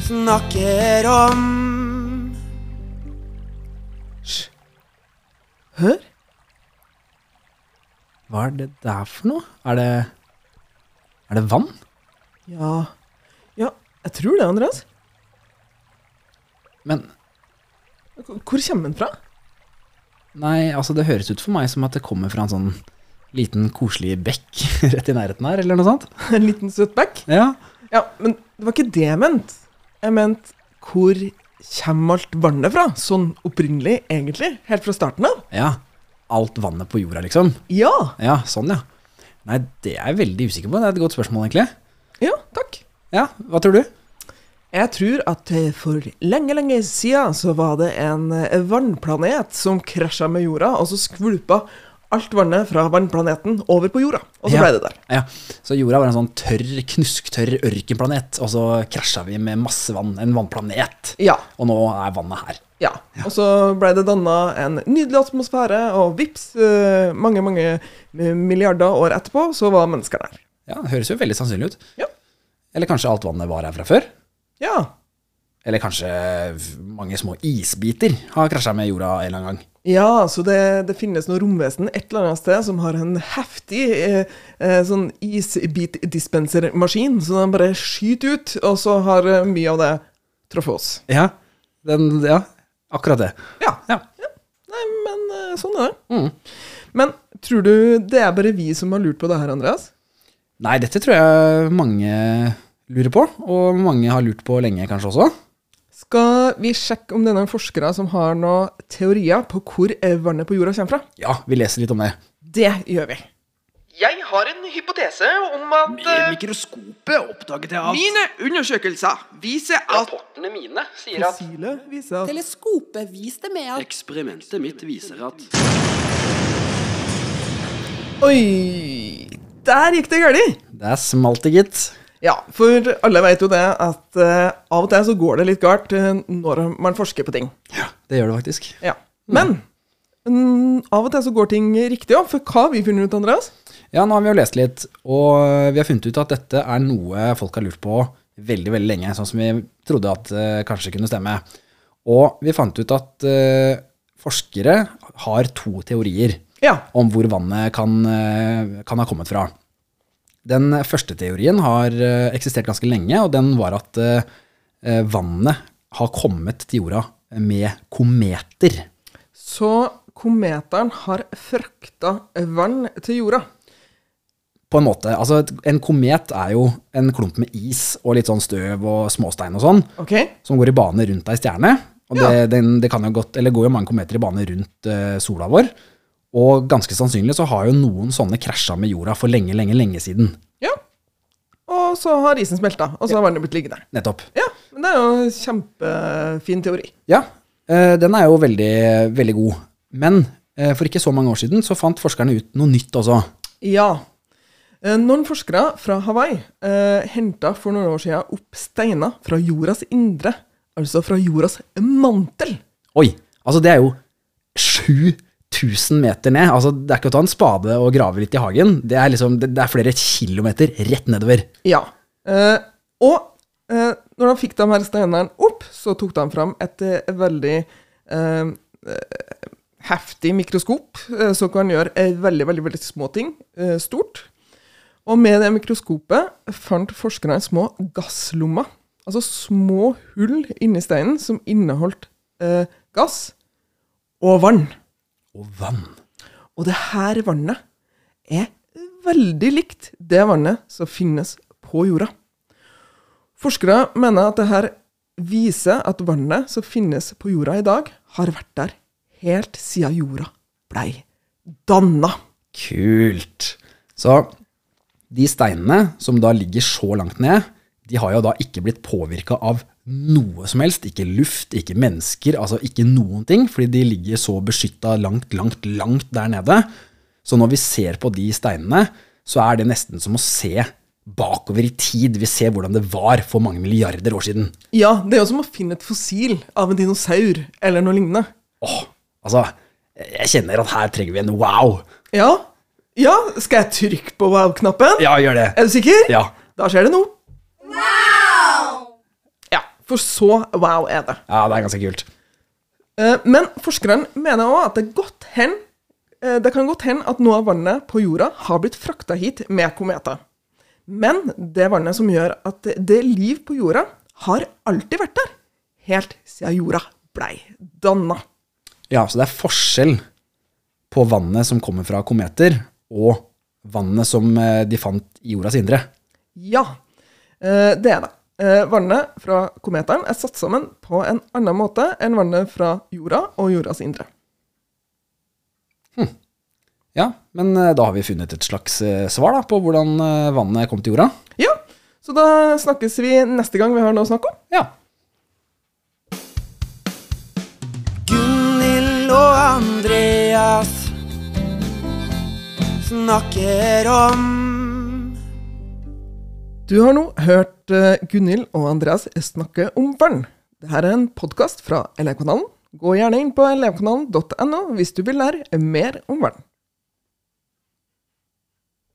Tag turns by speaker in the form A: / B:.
A: snakker om.
B: Hør! Hva er det der for noe? Er det Er det vann?
C: Ja Ja, jeg tror det, Andreas.
B: Men
C: Hvor hvor kommer den fra?
B: nei, altså det høres ut for meg som at det kommer fra en sånn liten koselig bekk rett i nærheten her, eller noe sånt.
C: En liten søt bekk?
B: Ja.
C: Ja, men det var ikke det jeg mente. Jeg mente hvor kommer alt vannet fra? Sånn opprinnelig, egentlig. Helt fra starten av.
B: ja. Alt vannet på jorda, liksom.
C: Ja.
B: Ja, sånn, ja. Nei, det er jeg veldig usikker på. Det er et godt spørsmål, egentlig.
C: Ja, takk.
B: Ja, hva tror du?
C: Jeg tror at eh, for lenge, lenge siden så var det en eh, vannplanet som krasja med jorda, og så skvulpa alt vannet fra vannplaneten over på jorda. Og så
B: Ja.
C: ble det der.
B: Ja, Så jorda var en sånn tørr, knusktørr ørkenplanet, og så krasja vi med masse vann, en vannplanet.
C: Ja.
B: Og nå er vannet her.
C: ja. Og så ble det danna en nydelig atmosfære, og vips, eh, mange, mange eh, milliarder år etterpå, så var mennesker der.
B: Ja, det høres jo veldig sannsynlig ut.
C: Ja.
B: Eller kanskje alt vannet var her fra før?
C: Ja.
B: Eller kanskje mange små isbiter har krasja med jorda en eller annen gang?
C: Ja, så det, det finnes noe romvesen et eller annet sted som har en heftig eh, eh, sånn isbitdispensermaskin, så den bare skyter ut, og så har eh, mye av det truffet oss.
B: Ja, den, ja akkurat det.
C: Ja.
B: Ja.
C: Nei, men eh, sånn er det.
B: Mm.
C: Men tror du det er bare vi som har lurt på det her, Andreas?
B: Nei, dette tror jeg mange lurer på, og mange har lurt på lenge kanskje også.
C: Skal vi sjekke om det er noen forskere som har noen teorier på hvor eh, vannet på jorda kommer fra?
B: Ja, vi leser litt om det.
C: Det gjør vi.
A: Jeg har en hypotese om at
D: I
A: eh,
D: mikroskopet oppdaget jeg at
A: mine undersøkelser viser at
D: Rapportene mine sier at
C: Fossilet viser at
E: Teleskopet viste meg at
D: Eksperimentet mitt viser at
C: Oi! Der gikk det galt!
B: Det er smalt det, gitt.
C: Ja, for alle vet jo det at eh, av og til så går det litt galt eh, når man forsker på ting.
B: Ja, det gjør det faktisk.
C: Ja. Men mm, av og til så går ting riktig òg, for hva har vi funnet ut, Andreas?
B: Ja, nå har vi jo lest litt, og vi har funnet ut at dette er noe folk har lurt på veldig, veldig lenge, sånn som vi trodde at eh, kanskje kunne stemme. Og vi fant ut at eh, forskere har to teorier
C: Ja.
B: om hvor vannet kan, eh, kan ha kommet fra. Den første teorien har eh, eksistert ganske lenge, og den var at eh, eh, vannet har kommet til jorda med kometer.
C: Så kometeren har frakta vann til jorda.
B: på en måte, altså et- En komet er jo en klump med is og litt sånn støv og småstein og sånn,
C: OK?
B: som går i bane rundt ei stjerne. Og det, den, det kan jo godt, eller går jo mange kometer i bane rundt eh, sola vår. Og ganske sannsynlig så har jo noen sånne krasja med jorda for lenge, lenge, lenge siden.
C: Ja. Og så har isen smelta, og så har vannet blitt liggende.
B: Nettopp.
C: Ja, men det er jo en kjempefin teori.
B: Ja, eh, den er jo veldig, veldig god. Men eh, for ikke så mange år siden så fant forskerne ut noe nytt også.
C: Ja. Eh, Noen forskere fra Hawaii eh, henta for noen år siden opp steiner fra jordas indre, altså fra jordas mantel.
B: Oi, altså det er jo 7000 meter ned. Altså det er ikke å ta en spade og grave litt i hagen. Det er, liksom, det, det er flere kilometer rett nedover.
C: Ja. Eh, og eh, når de fikk de her steinene opp, så tok de fram et eh, veldig eh, eh, heftig mikroskop eh, som kan gjøre eh, veldig, veldig, veldig små ting eh, stort. Og med det mikroskopet fant forskerne små gasslommer. Altså små hull inni steinen som inneholdt eh, gass og vann.
B: Og vann.
C: Og det her vannet er veldig likt det vannet som finnes på jorda. Forskere mener at det her viser at vannet som finnes på jorda i dag, har vært der helt siden jorda blei danna.
B: Kult. Så de steinene som da ligger så langt ned, de har jo da ikke blitt påvirka av noe som helst. Ikke luft, ikke mennesker, altså ikke noen ting. Fordi de ligger så beskytta langt, langt, langt der nede. Så når vi ser på de steinene, så er det nesten som å se bakover i tid. Vi ser hvordan det var for mange milliarder år siden.
C: Ja, det er jo som å finne et fossil av en dinosaur eller noe lignende.
B: Åh, altså, jeg kjenner at her trenger vi en wow.
C: Ja, ja skal jeg trykke på wow-knappen?
B: Ja, gjør det.
C: Er du sikker?
B: Ja.
C: Da skjer det noe. Wow! Ja, For så wow er det.
B: Ja, det er ganske kult.
C: Eh, Men forskeren mener òg at det, godt hen, eh, det kan godt hende at noe av vannet på jorda har blitt frakta hit med kometer. Men det vannet som gjør at det liv på jorda, har alltid vært der. Helt siden jorda blei danna.
B: Ja, så det er forskjell på vannet som kommer fra kometer, og vannet som eh, de fant i jordas indre.
C: Ja, eh, det er det. Eh, Vannet fra kometeren er satt sammen på en annen måte enn vannet fra jorda og jordas indre.
B: Ja, men eh, da har vi funnet et slags eh, svar da, på hvordan eh, vannet kom til jorda.
C: Ja, så da snakkes vi neste gang vi har noe å snakke om.
B: Ja.
A: Gunhild og Andreas snakker om
C: Du har nå hørt eh, Gunhild og Andreas snakke om vann. Dette er en podkast fra Elevkanalen. Gå gjerne inn på elevkanalen.no hvis du vil lære mer om vann.